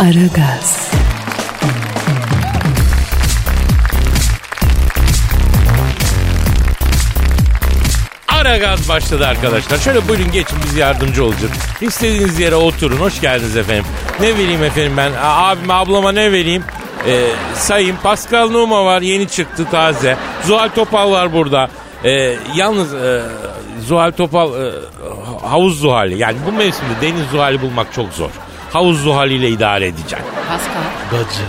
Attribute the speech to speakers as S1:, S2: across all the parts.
S1: Aragaz,
S2: Ara gaz başladı arkadaşlar. Şöyle buyurun geçin biz yardımcı olacağız. İstediğiniz yere oturun. Hoş geldiniz efendim. Ne vereyim efendim ben? A- Abime ablama ne vereyim? Ee, sayayım. Pascal Numa var. Yeni çıktı taze. Zuhal Topal var burada. Ee, yalnız e, Zuhal Topal e, havuz Zuhal'i. Yani bu mevsimde deniz Zuhal'i bulmak çok zor. Havuz Zuhal'iyle idare edeceksin.
S1: Pascal,
S3: Bacı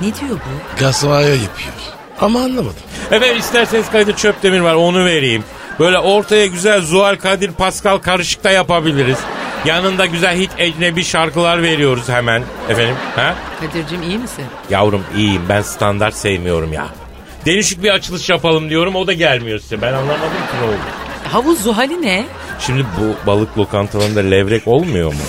S1: ne diyor bu?
S3: gasmaya yapıyor. Ama anlamadım.
S2: Efendim isterseniz Kadir Çöpdemir var onu vereyim. Böyle ortaya güzel Zuhal Kadir Pascal karışık da yapabiliriz. Yanında güzel hit ecnebi şarkılar veriyoruz hemen. Efendim ha?
S1: Kadir'cim iyi misin?
S2: Yavrum iyiyim ben standart sevmiyorum ya. Değişik bir açılış yapalım diyorum o da gelmiyor size. Ben anlamadım ki ne oldu.
S1: Havuz Zuhal'i ne?
S2: Şimdi bu balık lokantalarında levrek olmuyor mu?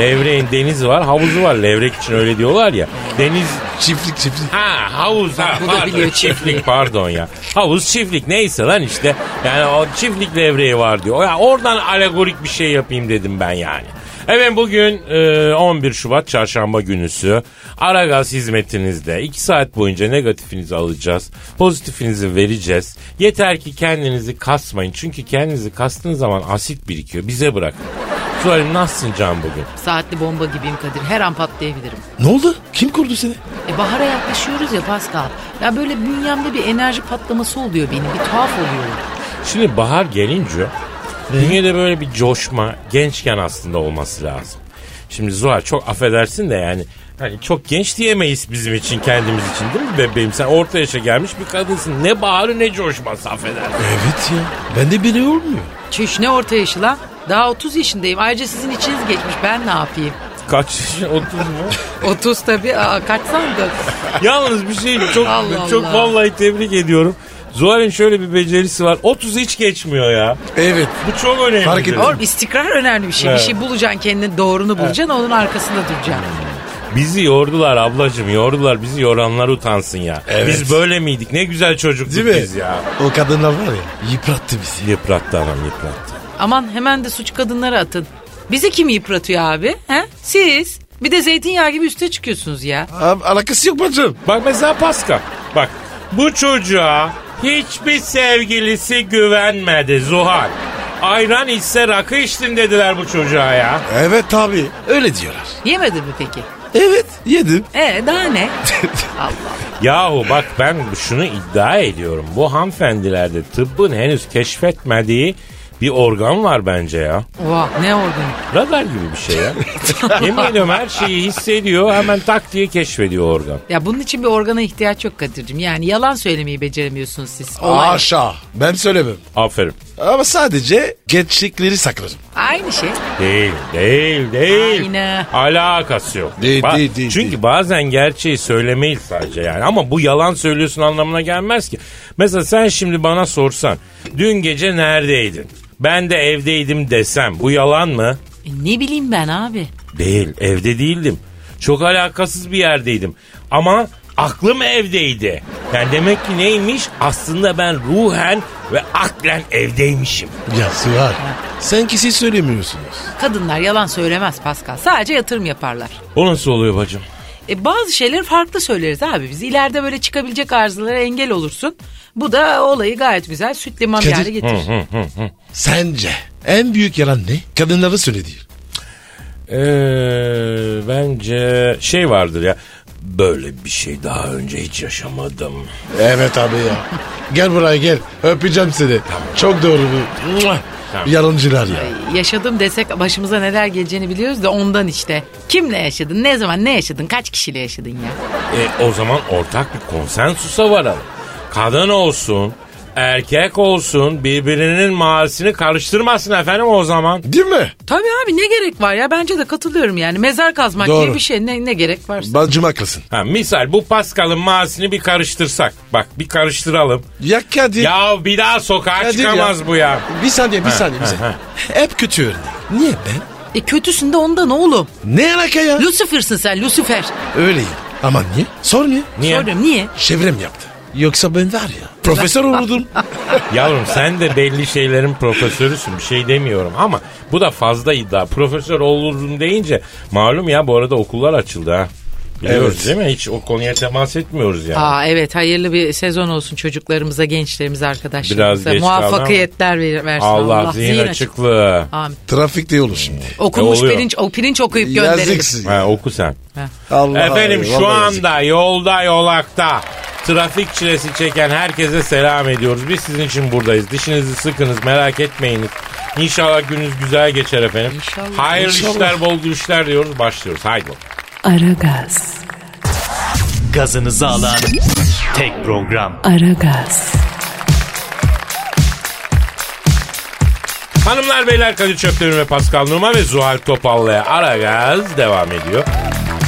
S2: Levreğin denizi var, havuzu var. Levrek için öyle diyorlar ya. Deniz
S3: Çiftlik çiftlik.
S2: Ha havuz ha
S1: Bu da
S2: pardon,
S1: biliyor çiftliği.
S2: çiftlik pardon ya. Havuz çiftlik neyse lan işte. Yani o çiftlik devreyi var diyor. Ya oradan alegorik bir şey yapayım dedim ben yani. Evet bugün e, 11 Şubat çarşamba günüsü. Aragaz hizmetinizde 2 saat boyunca negatifinizi alacağız. Pozitifinizi vereceğiz. Yeter ki kendinizi kasmayın. Çünkü kendinizi kastığınız zaman asit birikiyor. Bize bırakın. Sualim nasılsın Can bugün?
S1: Saatli bomba gibiyim Kadir. Her an patlayabilirim.
S3: Ne oldu? Kim kurdu seni?
S1: E bahara yaklaşıyoruz ya Pascal. Ya böyle bünyemde bir enerji patlaması oluyor benim. Bir tuhaf oluyor.
S2: Şimdi bahar gelince dünyada böyle bir coşma gençken aslında olması lazım. Şimdi Zuhal çok affedersin de yani hani çok genç diyemeyiz bizim için kendimiz için değil mi bebeğim? Sen orta yaşa gelmiş bir kadınsın. Ne baharı ne coşması affedersin.
S3: Evet ya. Ben de biri olmuyor.
S1: Çüş ne orta yaşı lan? Daha 30 yaşındayım. Ayrıca sizin içiniz geçmiş. Ben ne yapayım?
S2: Kaç yaşın 30 mu?
S1: 30 tabii. Aa, kaç sandın?
S2: Yalnız bir şey çok
S1: Allah
S2: çok
S1: Allah.
S2: vallahi tebrik ediyorum. Zuhal'in şöyle bir becerisi var. 30 hiç geçmiyor ya.
S3: Evet.
S2: Bu çok önemli.
S3: Fark ettim.
S1: Oğlum istikrar önemli bir şey.
S2: Evet.
S1: Bir şey bulacaksın kendine doğrunu bulacaksın onun arkasında duracaksın.
S2: Bizi yordular ablacığım yordular. Bizi yoranlar utansın ya.
S3: Evet.
S2: Biz böyle miydik? Ne güzel çocuktuk
S3: Değil mi?
S2: biz ya.
S3: O kadınlar var ya yıprattı bizi.
S2: Yıprattı anam yıprattı.
S1: Aman hemen de suç kadınlara atın. Bizi kim yıpratıyor abi? He? Siz. Bir de zeytinyağı gibi üste çıkıyorsunuz ya.
S3: Abi alakası yok bacım.
S2: Bak mesela Pascal. Bak bu çocuğa hiçbir sevgilisi güvenmedi Zuhal. Ayran içse rakı içtin dediler bu çocuğa ya.
S3: Evet abi. Öyle diyorlar.
S1: Yemedin mi peki?
S3: Evet yedim.
S1: E daha ne? Allah.
S2: Yahu bak ben şunu iddia ediyorum. Bu hanımefendilerde tıbbın henüz keşfetmediği bir organ var bence ya.
S1: Vah ne organı.
S2: Radar gibi bir şey ya. Yemin ediyorum her şeyi hissediyor hemen tak diye keşfediyor organ.
S1: Ya bunun için bir organa ihtiyaç yok Kadir'cim. Yani yalan söylemeyi beceremiyorsunuz siz. Olay.
S3: Aşağı. Ben söylemem.
S2: Aferin.
S3: Ama sadece gerçekleri saklarım.
S1: Aynı şey.
S2: Değil, değil, değil.
S1: Aynı.
S2: Alakası yok.
S3: Değil, değil, değil,
S2: Çünkü
S3: değil.
S2: bazen gerçeği söylemeyiz sadece yani. Ama bu yalan söylüyorsun anlamına gelmez ki. Mesela sen şimdi bana sorsan, dün gece neredeydin? Ben de evdeydim desem, bu yalan mı?
S1: E, ne bileyim ben abi.
S2: Değil, evde değildim. Çok alakasız bir yerdeydim. Ama aklım evdeydi. Yani demek ki neymiş? Aslında ben ruhen ve aklen evdeymişim.
S3: Ya Suhar. Sen kesin söylemiyorsunuz.
S1: Kadınlar yalan söylemez Pascal. Sadece yatırım yaparlar.
S2: O nasıl oluyor bacım?
S1: E, bazı şeyleri farklı söyleriz abi biz. İleride böyle çıkabilecek arzulara engel olursun. Bu da olayı gayet güzel süt liman bir
S3: Kadir-
S1: hale getirir.
S3: Sence en büyük yalan ne? Kadınların söylediği.
S2: Ee, bence şey vardır ya. Böyle bir şey daha önce hiç yaşamadım.
S3: Evet abi ya. gel buraya gel. Öpeceğim seni. Çok doğru bu. Mua.
S2: Tamam.
S3: Yalancılar ya.
S1: Yaşadım desek başımıza neler geleceğini biliyoruz da ondan işte. Kimle yaşadın, ne zaman ne yaşadın, kaç kişiyle yaşadın ya?
S2: E, o zaman ortak bir konsensusa varalım. Kadın olsun, Erkek olsun birbirinin mavisini karıştırmasın efendim o zaman.
S3: Değil mi?
S1: Tabii abi ne gerek var ya bence de katılıyorum yani mezar kazmak
S3: Doğru.
S1: gibi bir şey ne, ne gerek varsa.
S3: Bacım haklısın.
S2: Ha, misal bu Pascal'ın mavisini bir karıştırsak. Bak bir karıştıralım.
S3: Ya Kadir.
S2: Ya bir daha sokağa
S3: Kadir ya.
S2: çıkamaz bu ya.
S3: Bir saniye bir saniye. Bir
S2: ha,
S3: saniye.
S2: ha.
S3: Hep kötü örnek. Niye ben?
S1: E kötüsün de ondan oğlum.
S3: Ne alaka ya?
S1: Lucifer'sın sen Lucifer.
S3: Öyleyim. Ama niye? Sor niye?
S2: Niye?
S1: Soruyorum niye?
S3: Çevrem yaptı. Yoksa ben var ya. Profesör olurdum.
S2: Yavrum sen de belli şeylerin profesörüsün bir şey demiyorum ama bu da fazla iddia. Profesör olurum deyince malum ya bu arada okullar açıldı ha. Biliyoruz
S3: Evet.
S2: değil mi? Hiç o konuya temas etmiyoruz yani.
S1: Aa evet hayırlı bir sezon olsun çocuklarımıza, gençlerimize, arkadaşlarımıza.
S2: Biraz geç
S1: Muvaffakiyetler ver- versin
S2: Allah, zihin, açıklığı.
S1: Amin.
S3: Trafikte olur şimdi.
S1: Okunmuş
S2: oluyor?
S1: pirinç, o pirinç okuyup gönderelim.
S3: Yazıksın.
S2: Ha, oku sen.
S3: Allah
S2: Efendim
S3: Allah,
S2: şu
S3: vallahi yazık.
S2: anda yolda yolakta trafik çilesi çeken herkese selam ediyoruz. Biz sizin için buradayız. Dişinizi sıkınız merak etmeyiniz. İnşallah gününüz güzel geçer efendim.
S1: İnşallah.
S2: Hayırlı işler bol güçler diyoruz. Başlıyoruz. Haydi.
S4: Aragaz,
S5: Gazınızı alan tek program.
S4: Aragaz,
S2: Hanımlar beyler Kadir Çöpleri ve Pascal Numa ve Zuhal Topal'la ara gaz devam ediyor.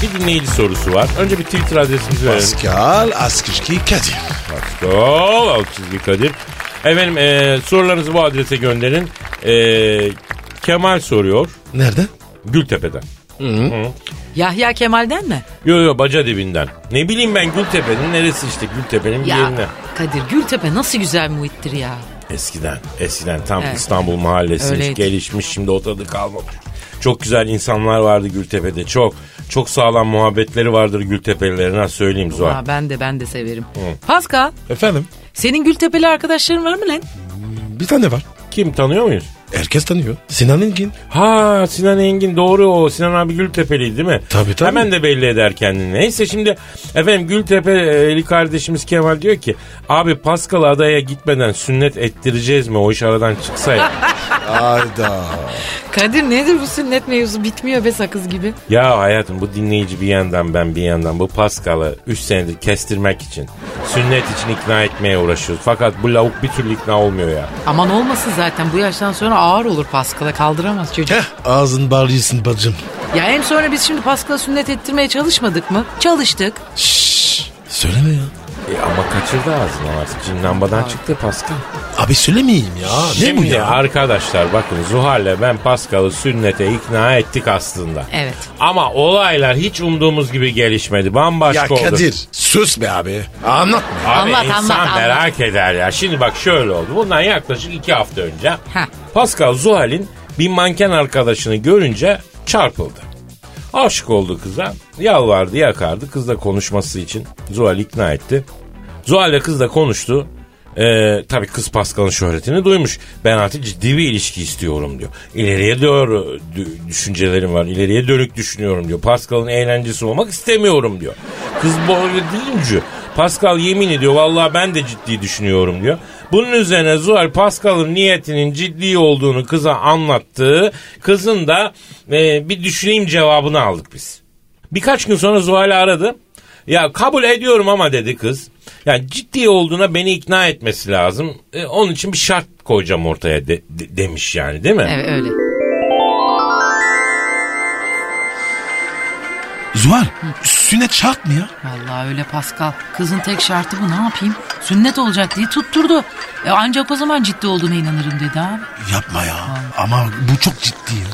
S2: Bir dinleyici sorusu var. Önce bir Twitter adresimizi verelim.
S3: Pascal Askışki Kadir.
S2: Pascal alt çizgi Kadir. Efendim e, sorularınızı bu adrese gönderin. E, Kemal soruyor.
S3: Nerede?
S2: Gültepe'den.
S1: Yahya Kemal'den mi?
S2: Yo yo baca dibinden. Ne bileyim ben Gültepe'nin neresi işte Gültepe'nin bir yerine.
S1: Ya Kadir Gültepe nasıl güzel muhittir ya.
S2: Eskiden eskiden tam
S1: Evet.
S2: İstanbul mahallesiymiş
S1: Öyleydi.
S2: gelişmiş şimdi o tadı kalmamış. Çok güzel insanlar vardı Gültepe'de çok. Çok sağlam muhabbetleri vardır Gültepe'lilerin ha söyleyeyim Zuhal.
S1: Aa, ben de ben de severim. Pascal
S3: Efendim?
S1: senin Gültepe'li arkadaşların var mı lan?
S3: Bir tane var.
S2: Kim tanıyor muyuz?
S3: Herkes tanıyor. Sinan Engin.
S2: Ha Sinan Engin doğru o. Sinan abi Gültepe'liydi değil mi?
S3: Tabii, tabii.
S2: Hemen de belli eder kendini. Neyse şimdi efendim Gültepe'li kardeşimiz Kemal diyor ki abi Pascal adaya gitmeden sünnet ettireceğiz mi? O iş aradan çıksa ya.
S3: Ayda.
S1: Kadir nedir bu sünnet mevzu bitmiyor be sakız gibi.
S2: Ya hayatım bu dinleyici bir yandan ben bir yandan bu Paskal'ı 3 senedir kestirmek için sünnet için ikna etmeye uğraşıyoruz. Fakat bu lavuk bir türlü ikna olmuyor ya.
S1: Aman olmasın zaten bu yaştan sonra ağır olur Paskal'a kaldıramaz çocuk.
S3: Heh, ağzın bağlıyorsun bacım.
S1: Ya hem sonra biz şimdi Paskal'a sünnet ettirmeye çalışmadık mı? Çalıştık.
S3: Şşş. Söyleme ya.
S2: E ama kaçırdı ağzını artık. Şimdi lambadan çıktı Paskal.
S3: Abi söylemeyeyim ya. ne bu
S2: Şimdi
S3: ya?
S2: arkadaşlar bakın Zuhal'le ben Paskal'ı sünnete ikna ettik aslında.
S1: Evet.
S2: Ama olaylar hiç umduğumuz gibi gelişmedi. Bambaşka
S3: Ya
S2: oldu.
S3: Kadir sus be abi. Anlatma.
S2: Abi
S1: Anlat,
S2: insan
S1: anlat, anlat.
S2: merak eder ya. Şimdi bak şöyle oldu. Bundan yaklaşık iki hafta önce
S1: Heh.
S2: Pascal Zuhal'in bir manken arkadaşını görünce çarpıldı. Aşık oldu kıza. Yalvardı yakardı. Kız da konuşması için Zuhal ikna etti. Zuhal de kızla konuştu. Ee, tabii kız Pascal'ın şöhretini duymuş. Ben artık ciddi bir ilişki istiyorum diyor. İleriye doğru dü- düşüncelerim var. İleriye dönük düşünüyorum diyor. Pascal'ın eğlencesi olmak istemiyorum diyor. Kız böyle deyince Pascal yemin ediyor vallahi ben de ciddi düşünüyorum diyor. Bunun üzerine Zuhal Pascal'ın niyetinin ciddi olduğunu kıza anlattığı kızın da e, bir düşüneyim cevabını aldık biz. Birkaç gün sonra Zuhal'i aradı. Ya kabul ediyorum ama dedi kız. Yani ciddi olduğuna beni ikna etmesi lazım. E, onun için bir şart koyacağım ortaya de- de- demiş yani değil mi?
S1: Evet öyle.
S3: Zuhal sünnet şart mı ya?
S1: Vallahi öyle Pascal. Kızın tek şartı bu ne yapayım? Sünnet olacak diye tutturdu. E ancak o zaman ciddi olduğuna inanırım dedi abi.
S3: Yapma ya. Ama bu çok ciddi ya.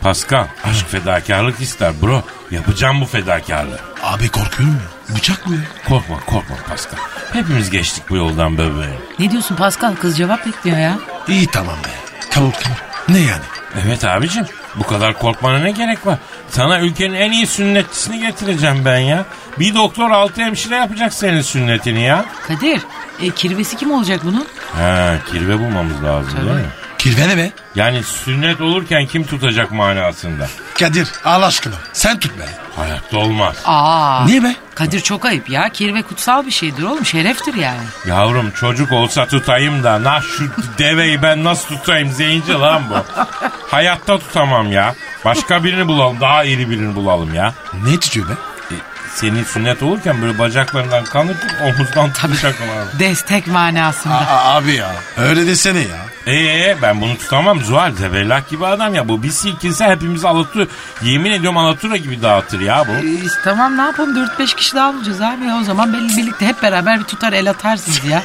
S2: Pascal aşk fedakarlık ister bro. Yapacağım bu fedakarlığı.
S3: Abi korkuyorum ya. Bıçak mı ya?
S2: Korkma korkma Pascal. Hepimiz geçtik bu yoldan bebeğim.
S1: Ne diyorsun Pascal? Kız cevap bekliyor ya.
S3: İyi tamam be. Kavur kavur. Ne yani?
S2: Evet abicim bu kadar korkmana ne gerek var? Sana ülkenin en iyi sünnetçisini getireceğim ben ya. Bir doktor altı hemşire yapacak senin sünnetini ya.
S1: Kadir, e, kirvesi kim olacak bunun?
S2: Ha kirve bulmamız lazım değil mi?
S3: Kirvene be.
S2: Yani sünnet olurken kim tutacak manasında?
S3: Kadir Allah aşkına sen tut be.
S2: Hayatta olmaz.
S1: Aa.
S3: Niye be?
S1: Kadir çok ayıp ya. Kirve kutsal bir şeydir oğlum. Şereftir yani.
S2: Yavrum çocuk olsa tutayım da nah şu deveyi ben nasıl tutayım zeyince lan bu. Hayatta tutamam ya. Başka birini bulalım daha iri birini bulalım ya.
S3: Ne tutuyor be?
S2: E, Senin sünnet olurken böyle bacaklarından kan akıp omuzdan tutacaksın abi.
S1: Destek manasında.
S3: Aa, abi ya. Öyle desene ya.
S2: Eee Ee, ben bunu tutamam Zuhal Zebellak gibi adam ya bu bir silkinse hepimizi alatır. Yemin ediyorum alatura gibi dağıtır ya bu.
S1: Ee, tamam ne yapalım 4-5 kişi daha bulacağız abi ya. o zaman belli birlikte hep beraber bir tutar el atarsınız ya.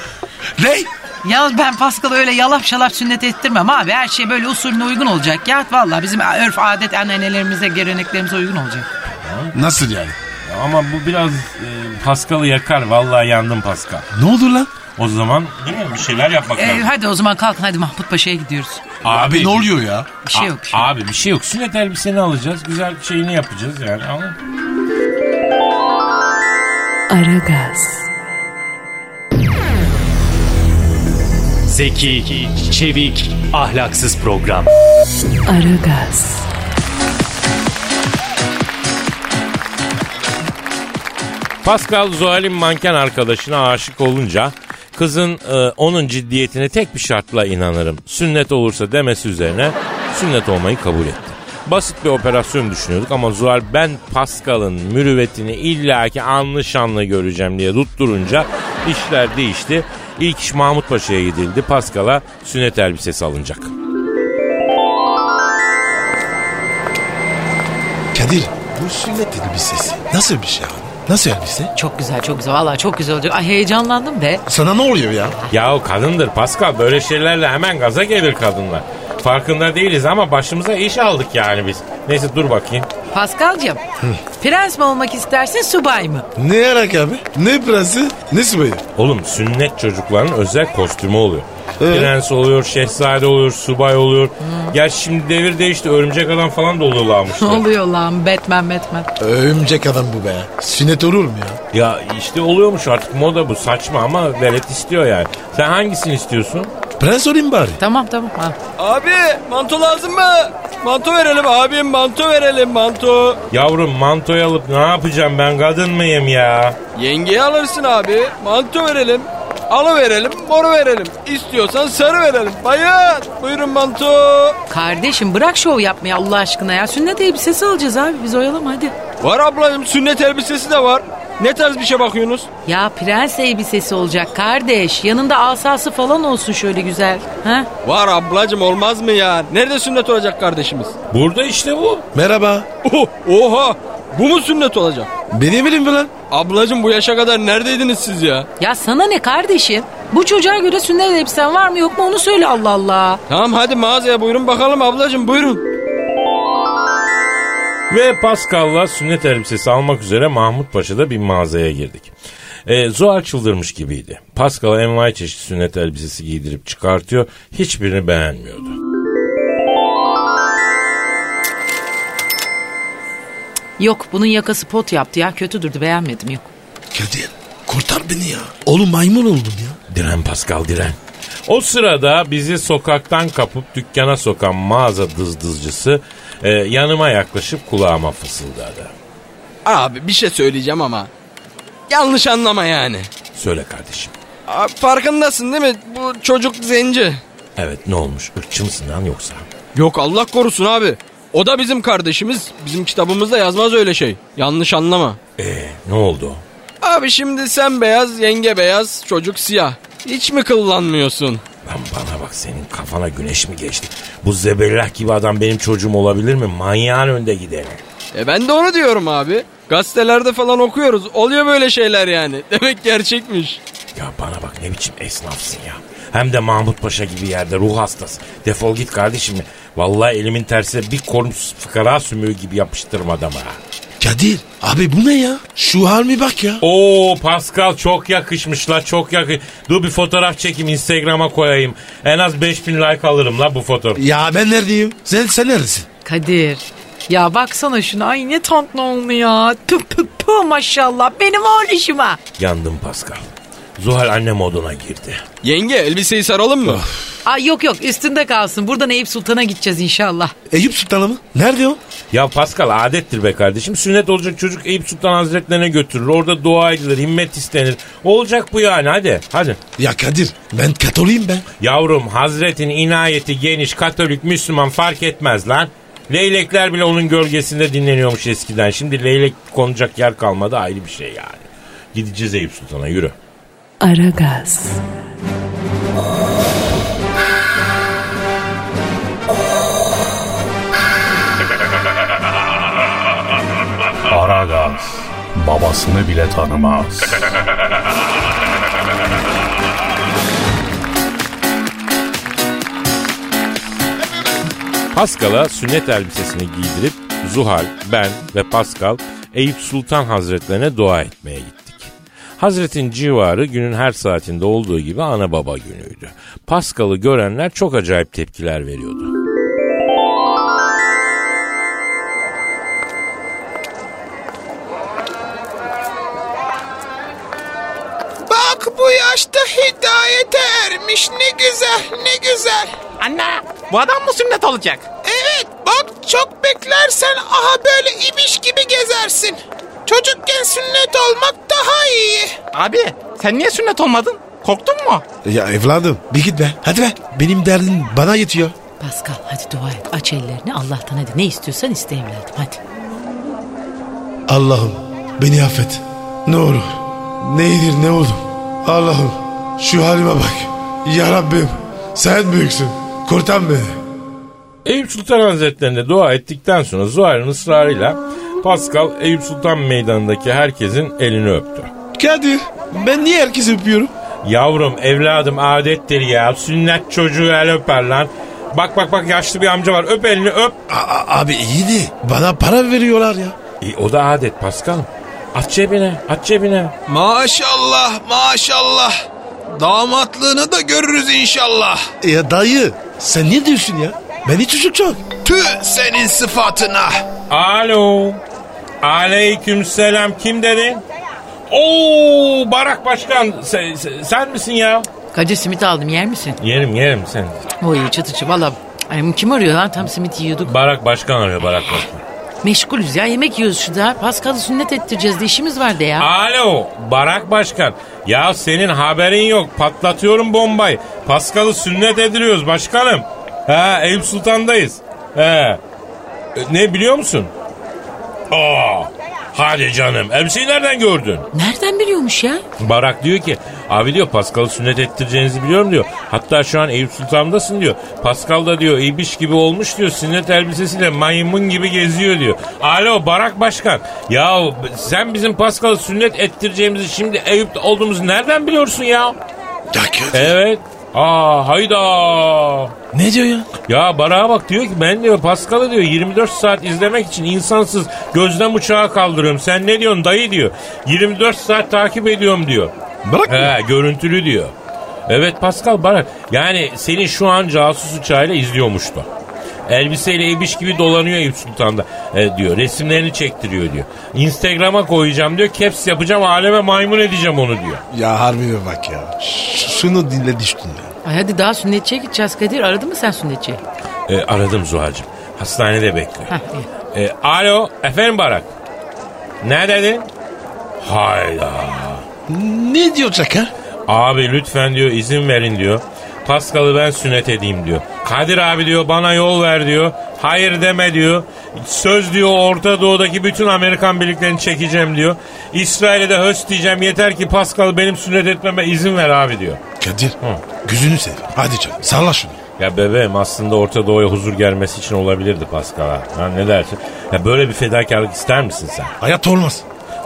S3: Ne?
S1: ya ben Paskal'ı öyle yalap şalap sünnet ettirmem abi her şey böyle usulüne uygun olacak ya. Valla bizim örf adet anneannelerimize geleneklerimize uygun olacak.
S3: Nasıl yani?
S2: Ama bu biraz e, Paskal'ı yakar vallahi yandım Paskal.
S3: Ne oldu lan?
S2: O zaman değil mi bir şeyler yapmak
S1: Ee,
S2: lazım.
S1: hadi o zaman kalkın hadi Mahmut Paşa'ya gidiyoruz.
S3: Abi ne oluyor ya?
S1: Bir şey yok.
S2: A- Abi bir şey yok. Sünnet elbiseni alacağız. Güzel bir şeyini yapacağız yani. Ama
S4: Aragaz,
S5: Zeki, çevik, ahlaksız program.
S4: Aragaz,
S2: Pascal Zuhal'in manken arkadaşına aşık olunca kızın e, onun ciddiyetine tek bir şartla inanırım. Sünnet olursa demesi üzerine sünnet olmayı kabul etti. Basit bir operasyon düşünüyorduk ama Zuhal ben Pascal'ın mürüvvetini illaki anlı şanlı göreceğim diye tutturunca işler değişti. İlk iş Mahmut Paşa'ya gidildi. Pascal'a sünnet elbisesi alınacak.
S3: Kadir bu sünnet elbisesi. Nasıl bir şey abi? Nasıl elbise?
S1: Çok güzel çok güzel valla çok güzel olacak. Ay heyecanlandım be.
S3: Sana ne oluyor ya?
S2: Yahu kadındır Pascal böyle şeylerle hemen gaza gelir kadınlar. Farkında değiliz ama başımıza iş aldık yani biz. Neyse dur bakayım.
S1: Paskal'cığım prens mi olmak istersin subay mı?
S3: Ne yarak abi? Ne prensi? Ne subayı?
S2: Oğlum sünnet çocukların özel kostümü oluyor.
S1: Ee?
S3: Evet.
S2: Prens oluyor, şehzade oluyor, subay oluyor. Gerçi şimdi devir değişti. Örümcek adam falan da oluyorlarmış.
S1: Ne oluyor lan Batman Batman.
S3: Örümcek adam bu be. Sünnet olur mu ya?
S2: ya işte oluyormuş artık moda bu. Saçma ama velet istiyor yani. Sen hangisini istiyorsun?
S3: Prens olayım bari.
S1: Tamam tamam. Ha.
S6: Abi manto lazım mı? Manto verelim abim manto verelim manto.
S2: Yavrum mantoyu alıp ne yapacağım ben kadın mıyım ya?
S6: Yengeyi alırsın abi manto verelim. Alı verelim, moru verelim. İstiyorsan sarı verelim. Bayan, buyurun manto.
S1: Kardeşim bırak şov yapmayı Allah aşkına ya. Sünnet elbisesi alacağız abi biz oyalama hadi.
S6: Var ablacığım, sünnet elbisesi de var. Ne tarz bir şey bakıyorsunuz?
S1: Ya prens elbisesi olacak kardeş. Yanında asası falan olsun şöyle güzel. Ha?
S6: Var ablacığım olmaz mı ya? Nerede sünnet olacak kardeşimiz?
S2: Burada işte bu.
S3: Merhaba.
S6: Oh, oha! Bu mu sünnet olacak?
S3: Beni bilin mi lan?
S6: Ablacığım bu yaşa kadar neredeydiniz siz ya?
S1: Ya sana ne kardeşim? Bu çocuğa göre sünnet elbisen var mı yok mu onu söyle Allah Allah.
S6: Tamam hadi mağazaya buyurun bakalım ablacığım buyurun.
S2: Ve Pascal'la sünnet elbisesi almak üzere Mahmut Paşa'da bir mağazaya girdik. E, Zuhal çıldırmış gibiydi. Pascal'a envai çeşit sünnet elbisesi giydirip çıkartıyor. Hiçbirini beğenmiyordu.
S1: Yok bunun yakası pot yaptı ya kötü durdu beğenmedim yok.
S3: Kadir kurtar beni ya. Oğlum maymun oldum ya.
S2: Diren Pascal diren. O sırada bizi sokaktan kapıp dükkana sokan mağaza dızdızcısı e, yanıma yaklaşıp kulağıma fısıldadı.
S6: Abi bir şey söyleyeceğim ama. Yanlış anlama yani.
S2: Söyle kardeşim.
S6: Abi, farkındasın değil mi? Bu çocuk zenci.
S2: Evet ne olmuş ırkçı mısın lan yoksa?
S6: Yok Allah korusun abi. O da bizim kardeşimiz. Bizim kitabımızda yazmaz öyle şey. Yanlış anlama.
S2: Eee E, ne oldu?
S6: Abi şimdi sen beyaz, yenge beyaz, çocuk siyah. Hiç mi kıllanmıyorsun?
S2: Lan bana bak senin kafana güneş mi geçti? Bu zebellah gibi adam benim çocuğum olabilir mi? Manyağın önde gideni.
S6: E ben de onu diyorum abi. Gazetelerde falan okuyoruz. Oluyor böyle şeyler yani. Demek gerçekmiş.
S2: Ya bana bak ne biçim esnafsın ya. Hem de Mahmut Paşa gibi yerde ruh hastası. Defol git kardeşim. Vallahi elimin tersiyle bir korun fıkara sümüğü gibi yapıştırma adama. ha.
S3: Kadir abi bu ne ya? Şu hal mi bak ya?
S2: Oo Pascal çok yakışmış la çok yakış. Dur bir fotoğraf çekeyim Instagram'a koyayım. En az 5000 like alırım la bu fotoğraf.
S3: Ya ben neredeyim? Sen, sen neredesin?
S1: Kadir ya baksana şuna ay ne tatlı oldu ya. Tüp püp pü maşallah benim oğluşuma.
S2: Yandım Pascal. Zuhal anne moduna girdi.
S6: Yenge elbiseyi saralım mı?
S1: Ay yok yok üstünde kalsın buradan Eyüp Sultan'a gideceğiz inşallah.
S3: Eyüp Sultan'ı mı? Nerede o?
S2: Ya Pascal adettir be kardeşim. Sünnet olacak çocuk Eyüp Sultan Hazretlerine götürülür. Orada dua edilir, himmet istenir. Olacak bu yani hadi hadi.
S3: Ya Kadir ben Katoliyim ben.
S2: Yavrum Hazretin inayeti geniş, katolik, Müslüman fark etmez lan. Leylekler bile onun gölgesinde dinleniyormuş eskiden. Şimdi leylek konacak yer kalmadı ayrı bir şey yani. Gideceğiz Eyüp Sultan'a yürü.
S4: Aragaz,
S7: Aragaz babasını bile tanımaz.
S2: Pascal'a sünnet elbisesini giydirip Zuhal, ben ve Pascal Eyüp Sultan Hazretlerine dua etmeye gittik. Hazretin civarı günün her saatinde olduğu gibi ana baba günüydü. Pascal'ı görenler çok acayip tepkiler veriyordu.
S8: Bak bu yaşta hidayete ermiş ne güzel ne güzel. Anne bu adam mı sünnet olacak? Evet bak çok beklersen aha böyle ibiş gibi gezersin. Çocukken sünnet olmak daha iyi. Abi sen niye sünnet olmadın? Korktun mu?
S3: Ya evladım bir git be. Hadi be. Benim derdim bana yetiyor.
S9: Pascal hadi dua et. Aç ellerini Allah'tan hadi. Ne istiyorsan iste evladım hadi.
S3: Allah'ım beni affet. Ne olur. Neydir ne oldum. Allah'ım şu halime bak. Ya Rabbim sen büyüksün. Kurtar beni.
S2: Eyüp Sultan Hazretlerine dua ettikten sonra Zuhal'ın ısrarıyla Pascal Eyüp Sultan Meydanı'ndaki herkesin elini öptü.
S3: Kadir ben niye herkesi öpüyorum?
S2: Yavrum evladım adettir ya sünnet çocuğu el öper lan. Bak bak bak yaşlı bir amca var öp elini öp.
S3: abi iyiydi. Bana para veriyorlar ya.
S2: E, o da adet Pascal. At cebine at cebine.
S6: Maşallah maşallah. Damatlığını da görürüz inşallah.
S3: Ya dayı sen ne diyorsun ya? Ben hiç çocuk çok.
S6: Tüh senin sıfatına.
S2: Alo. Aleyküm selam kim dedi? Oo Barak Başkan se- se- sen, misin ya?
S9: Kadir simit aldım yer misin?
S2: Yerim yerim sen.
S9: Oy çatıcı valla. Ay, kim arıyor lan tam simit yiyorduk.
S2: Barak Başkan arıyor Barak Başkan.
S9: Meşgulüz ya yemek yiyoruz şurada. Pascal'ı sünnet ettireceğiz de işimiz vardı ya.
S2: Alo Barak Başkan. Ya senin haberin yok. Patlatıyorum bombayı. Paskal'ı sünnet ediliyoruz başkanım. Ha Eyüp Sultan'dayız. He. E, Ne biliyor musun? Aa. Hadi canım. Elbiseyi nereden gördün?
S9: Nereden biliyormuş ya?
S2: Barak diyor ki abi diyor Paskal'ı sünnet ettireceğinizi biliyorum diyor. Hatta şu an Eyüp Sultan'dasın diyor. Paskal da diyor ibiş gibi olmuş diyor. Sünnet elbisesiyle maymun gibi geziyor diyor. Alo Barak Başkan. Ya sen bizim Paskal'ı sünnet ettireceğimizi şimdi Eyüp'te olduğumuzu nereden biliyorsun ya?
S3: Ya Kadir.
S2: Evet. Aa hayda.
S3: Ne diyor ya?
S2: Ya Barak'a bak diyor ki ben diyor Paskal'ı diyor 24 saat izlemek için insansız gözlem uçağı kaldırıyorum. Sen ne diyorsun dayı diyor. 24 saat takip ediyorum diyor.
S3: Bırak mı?
S2: He, görüntülü diyor. Evet Pascal Barak. Yani seni şu an casus uçağıyla izliyormuştu. Elbiseyle ibiş gibi dolanıyor Eyüp Sultan'da e, diyor. Resimlerini çektiriyor diyor. Instagram'a koyacağım diyor. Caps yapacağım aleme maymun edeceğim onu diyor.
S3: Ya harbiden bak ya. Ş- şunu dinle düştün ya.
S9: Ay hadi daha sünnetçiye gideceğiz Kadir. Aradın mı sen sünnetçiyi?
S2: E, aradım Zuhal'cığım. Hastanede bekliyor.
S9: Hah iyi.
S2: E, alo efendim Barak. Ne dedin? Hayda.
S3: Ne diyor çakar?
S2: Abi lütfen diyor izin verin diyor. Paskal'ı ben sünnet edeyim diyor. Kadir abi diyor bana yol ver diyor. Hayır deme diyor. Söz diyor Orta Doğu'daki bütün Amerikan birliklerini çekeceğim diyor. İsrail'e de höst diyeceğim yeter ki Paskal'ı benim sünnet etmeme izin ver abi diyor.
S3: Kadir. Gözünü seveyim. Hadi canım. Salla şunu.
S2: Ya bebeğim aslında Orta Doğu'ya huzur gelmesi için olabilirdi Paskal'a. Ha, ne dersin? Ya böyle bir fedakarlık ister misin sen?
S3: Hayat olmaz.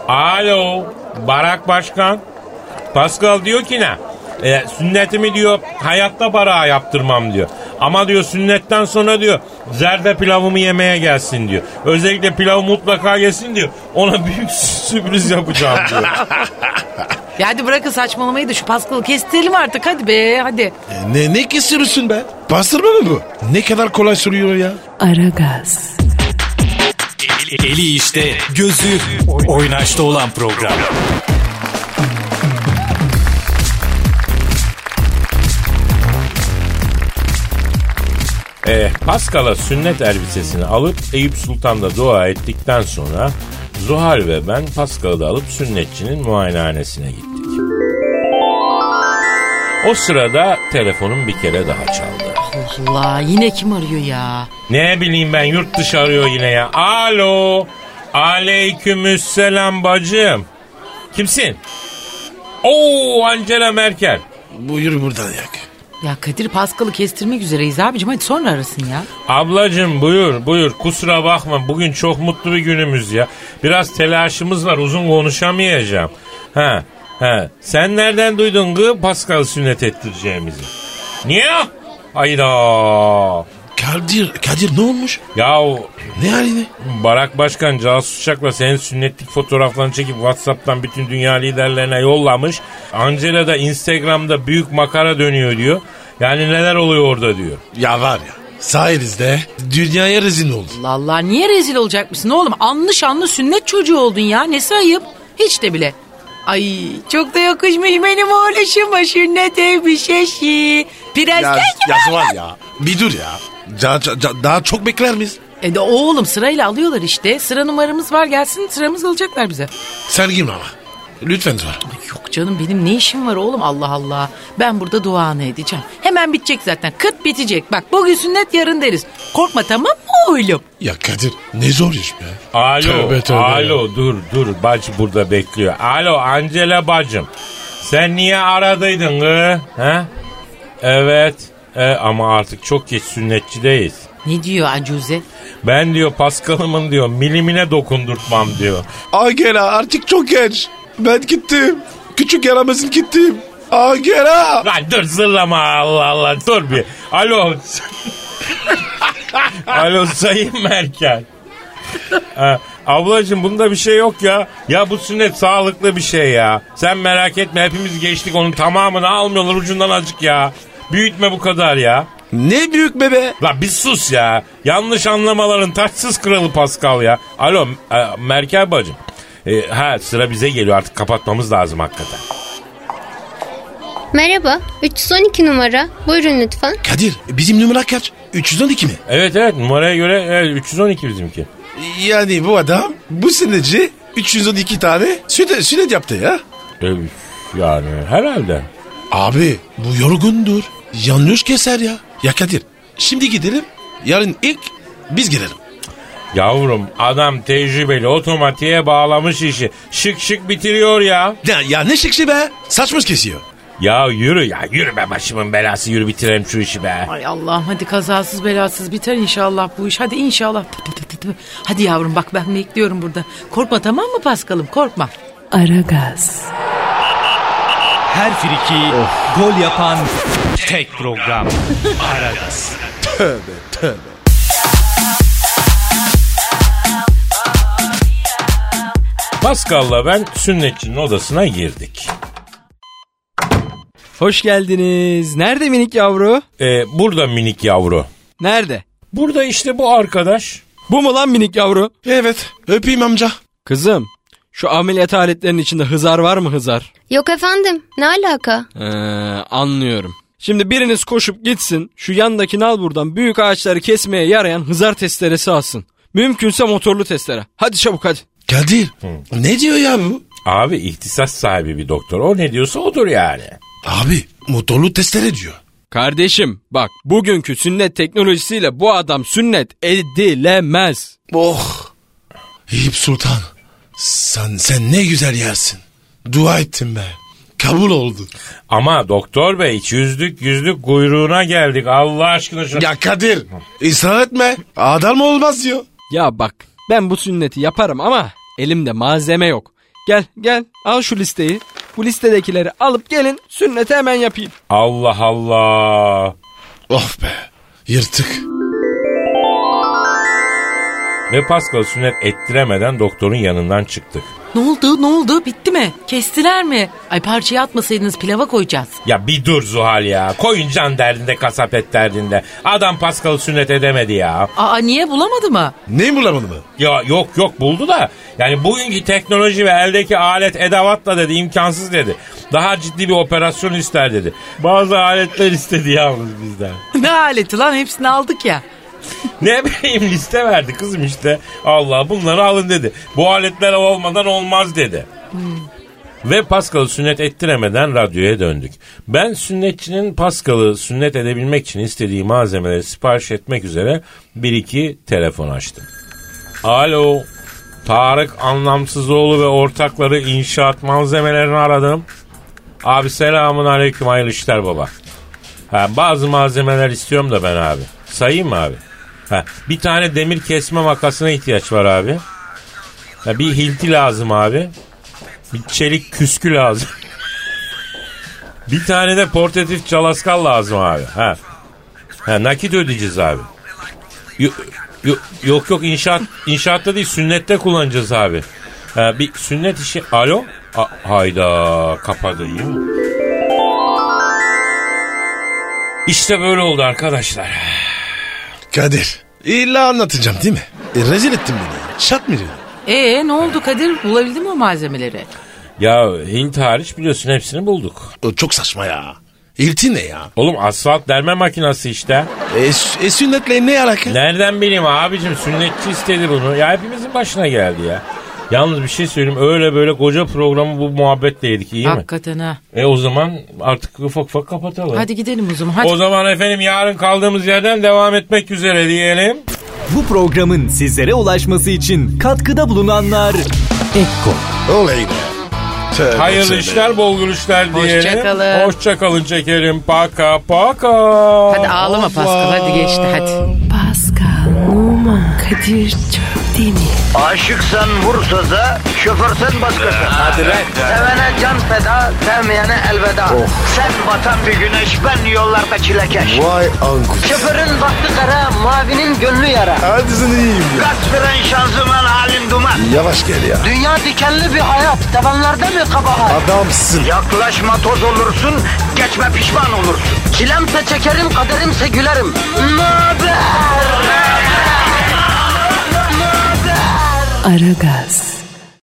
S2: Alo Barak Başkan. Pascal diyor ki ne? E, sünnetimi diyor hayatta barağa yaptırmam diyor. Ama diyor sünnetten sonra diyor zerde pilavımı yemeye gelsin diyor. Özellikle pilavı mutlaka yesin diyor. Ona büyük sürpriz yapacağım diyor.
S9: Ya hadi bırakın saçmalamayı da şu Pascal'ı kestirelim artık hadi be hadi.
S3: E, ne, ne kesiyorsun be? Bastırma mı bu? Ne kadar kolay soruyor ya.
S4: Aragaz,
S5: Eli işte, gözü oynaşta olan program.
S2: E, Paskal'a sünnet elbisesini alıp Eyüp Sultan'da dua ettikten sonra Zuhal ve ben Paskal'ı da alıp sünnetçinin muayenehanesine gittik. O sırada telefonum bir kere daha çaldı.
S1: Allah yine kim arıyor ya?
S2: Ne bileyim ben yurt dışı arıyor yine ya. Alo. Aleykümselam bacım. Kimsin? Oo Angela Merkel.
S3: Buyur buradan yak.
S1: Ya Kadir Paskal'ı kestirmek üzereyiz abicim hadi sonra arasın ya.
S2: Ablacım buyur buyur kusura bakma bugün çok mutlu bir günümüz ya. Biraz telaşımız var uzun konuşamayacağım. Ha ha sen nereden duydun gı Pascal sünnet ettireceğimizi? Niye? Hayda.
S3: Kadir, Kadir ne olmuş?
S2: Yahu
S3: Ne halini?
S2: Barak Başkan casus uçakla senin sünnetlik fotoğraflarını çekip Whatsapp'tan bütün dünya liderlerine yollamış. Angela da Instagram'da büyük makara dönüyor diyor. Yani neler oluyor orada diyor.
S3: Ya var ya. Sayenizde dünyaya rezil oldu.
S1: Allah Allah niye rezil olacakmışsın oğlum? Anlı şanlı sünnet çocuğu oldun ya. Nesi ayıp? Hiç de bile. Ay çok da yakışmış benim oğluşuma sünnet evmiş eşi. Prens
S3: Ya,
S1: gel gibi.
S3: ya var ya. Bir dur ya. Daha, daha- daha çok bekler miyiz?
S1: E de oğlum sırayla alıyorlar işte. Sıra numaramız var gelsin sıramız alacaklar bize.
S3: Sen girme ama. Lütfen sor.
S1: Yok canım benim ne işim var oğlum Allah Allah. Ben burada duanı edeceğim. Hemen bitecek zaten. Kıt bitecek. Bak bugün sünnet yarın deriz. Korkma tamam mı oğlum?
S3: Ya Kadir ne zor iş be.
S2: Alo,
S3: Tövbe tövbe
S2: alo dur dur bacı burada bekliyor. Alo Angela bacım. Sen niye aradıydın gı? He? Evet. E, ama artık çok geç sünnetçideyiz.
S1: Ne diyor Acuze?
S2: Ben diyor Paskal'ımın diyor milimine dokundurtmam diyor.
S3: Agera artık çok genç. Ben gittim. Küçük yaramazım gittim. Agera.
S2: Lan dur zırlama Allah Allah dur bir. Alo. Alo Sayın Merkel. Ha, ablacığım bunda bir şey yok ya. Ya bu sünnet sağlıklı bir şey ya. Sen merak etme hepimiz geçtik onun tamamını almıyorlar ucundan acık ya. Büyütme bu kadar ya.
S3: Ne büyük bebe.
S2: La bir sus ya. Yanlış anlamaların taçsız kralı Pascal ya. Alo e, Merkel bacım. E, ha sıra bize geliyor artık kapatmamız lazım hakikaten.
S7: Merhaba, 312 numara. Buyurun lütfen.
S3: Kadir bizim numara kaç? 312 mi?
S2: Evet evet numaraya göre e, evet, 312 bizimki.
S3: Yani bu adam bu seneci 312 tane sünet, sünet yaptı ya.
S2: E, Yani herhalde.
S3: Abi bu yorgundur. Yanlış keser ya. Ya Kadir şimdi gidelim. Yarın ilk biz girelim.
S2: Yavrum adam tecrübeli otomatiğe bağlamış işi. Şık şık bitiriyor ya.
S3: Ya, ya ne şıkşı be. Saçmış kesiyor.
S2: Ya yürü ya yürü be başımın belası yürü bitirelim şu işi be.
S1: Ay Allah'ım hadi kazasız belasız biter inşallah bu iş. Hadi inşallah. Tı tı tı tı tı. Hadi yavrum bak ben bekliyorum burada. Korkma tamam mı Paskal'ım korkma.
S4: Aragaz,
S5: Her friki gol yapan tek program. Aragaz.
S2: Pascal'la ben sünnetçinin odasına girdik.
S6: Hoş geldiniz. Nerede minik yavru?
S2: E, burada minik yavru.
S6: Nerede?
S2: Burada işte bu arkadaş.
S6: Bu mu lan minik yavru?
S3: Evet öpeyim amca.
S6: Kızım şu ameliyat aletlerinin içinde hızar var mı hızar?
S7: Yok efendim, ne alaka?
S6: Ee, anlıyorum. Şimdi biriniz koşup gitsin şu yandaki nal buradan büyük ağaçları kesmeye yarayan hızar testeresi alsın. Mümkünse motorlu testere. Hadi çabuk hadi.
S3: Kadir ne diyor ya bu?
S2: Abi ihtisas sahibi bir doktor. O ne diyorsa odur yani.
S3: Abi motorlu testere diyor.
S6: Kardeşim bak bugünkü sünnet teknolojisiyle bu adam sünnet edilemez.
S3: Oh. Eyüp Sultan. Sen, sen ne güzel yersin. Dua ettim be. Kabul oldu.
S2: Ama doktor bey iki yüzlük yüzlük kuyruğuna geldik. Allah aşkına şunu.
S3: Ya Kadir ısrar etme. Adam olmaz diyor.
S6: Ya bak ben bu sünneti yaparım ama elimde malzeme yok. Gel gel al şu listeyi. Bu listedekileri alıp gelin sünneti hemen yapayım.
S2: Allah Allah.
S3: Of Oh be. Yırtık.
S2: Ve Pascal sünnet ettiremeden doktorun yanından çıktık.
S1: Ne oldu ne oldu bitti mi? Kestiler mi? Ay parçayı atmasaydınız pilava koyacağız.
S2: Ya bir dur Zuhal ya. Koyun can derdinde kasap et derdinde. Adam Pascal'ı sünnet edemedi ya.
S1: Aa niye bulamadı mı?
S3: Ne bulamadın mı?
S2: Ya yok yok buldu da yani bugünkü teknoloji ve eldeki alet edavatla dedi imkansız dedi. Daha ciddi bir operasyon ister dedi. Bazı aletler istedi yalnız bizden.
S1: ne aleti lan hepsini aldık ya.
S2: Ne bileyim liste verdi kızım işte. Allah bunları alın dedi. Bu aletler olmadan olmaz dedi. Ve Pascal'ı sünnet ettiremeden radyoya döndük. Ben sünnetçinin Pascal'ı sünnet edebilmek için istediği malzemeleri sipariş etmek üzere bir iki telefon açtım. Alo. Tarık Anlamsızoğlu ve ortakları inşaat malzemelerini aradım. Abi selamun aleyküm hayırlı işler baba. Ha, bazı malzemeler istiyorum da ben abi. Sayayım mı abi? Ha, bir tane demir kesme makasına ihtiyaç var abi. Ha, bir hilti lazım abi. Bir çelik küskü lazım. bir tane de portatif çalaskal lazım abi. Ha. ha nakit ödeyeceğiz abi. Yo- yo- yok yok inşaat inşaatta değil sünnette kullanacağız abi. Ha, bir sünnet işi. Alo? A- hayda kapadı iyi mi? İşte böyle oldu arkadaşlar.
S3: Kadir. İlla anlatacağım değil mi? E, rezil ettin beni. Şat mı diyor?
S9: Ee ne oldu Kadir? Bulabildin mi o malzemeleri?
S2: Ya Hint hariç biliyorsun hepsini bulduk.
S3: çok saçma ya. Hilti ne ya?
S2: Oğlum asfalt derme makinası işte.
S3: E, e sünnetle ne alaka?
S2: Nereden bileyim abicim sünnetçi istedi bunu. Ya hepimizin başına geldi ya. Yalnız bir şey söyleyeyim öyle böyle koca programı bu muhabbetle yedik iyi mi?
S9: Hakikaten ha.
S2: E o zaman artık ufak ufak kapatalım.
S9: Hadi gidelim o zaman. Hadi.
S2: O zaman efendim yarın kaldığımız yerden devam etmek üzere diyelim.
S10: Bu programın sizlere ulaşması için katkıda bulunanlar Ekko.
S3: Olay
S2: Hayırlı işler, bol gülüşler diyelim.
S9: Hoşçakalın.
S2: Hoşçakalın şekerim. Paka paka.
S9: Hadi ağlama Pascal hadi geçti hadi.
S4: Pascal, Oman, Kadir çok değil mi?
S11: Aşıksan vursa da, şoförsen başkasın. Hadi
S4: lan.
S11: Sevene can feda, sevmeyene elveda. Sen batan bir güneş, ben yollarda çilekeş.
S3: Vay anku.
S11: Şoförün baktı kara, mavinin gönlü yara.
S3: Hadi sen iyiyim ya.
S11: Kasperen şanzıman halin duman.
S3: Yavaş gel ya.
S11: Dünya dikenli bir hayat, sevenlerde mi kabahar?
S3: Adamsın.
S11: Yaklaşma toz olursun, geçme pişman olursun. Çilemse çekerim, kaderimse gülerim. Möber!
S4: Aragaz.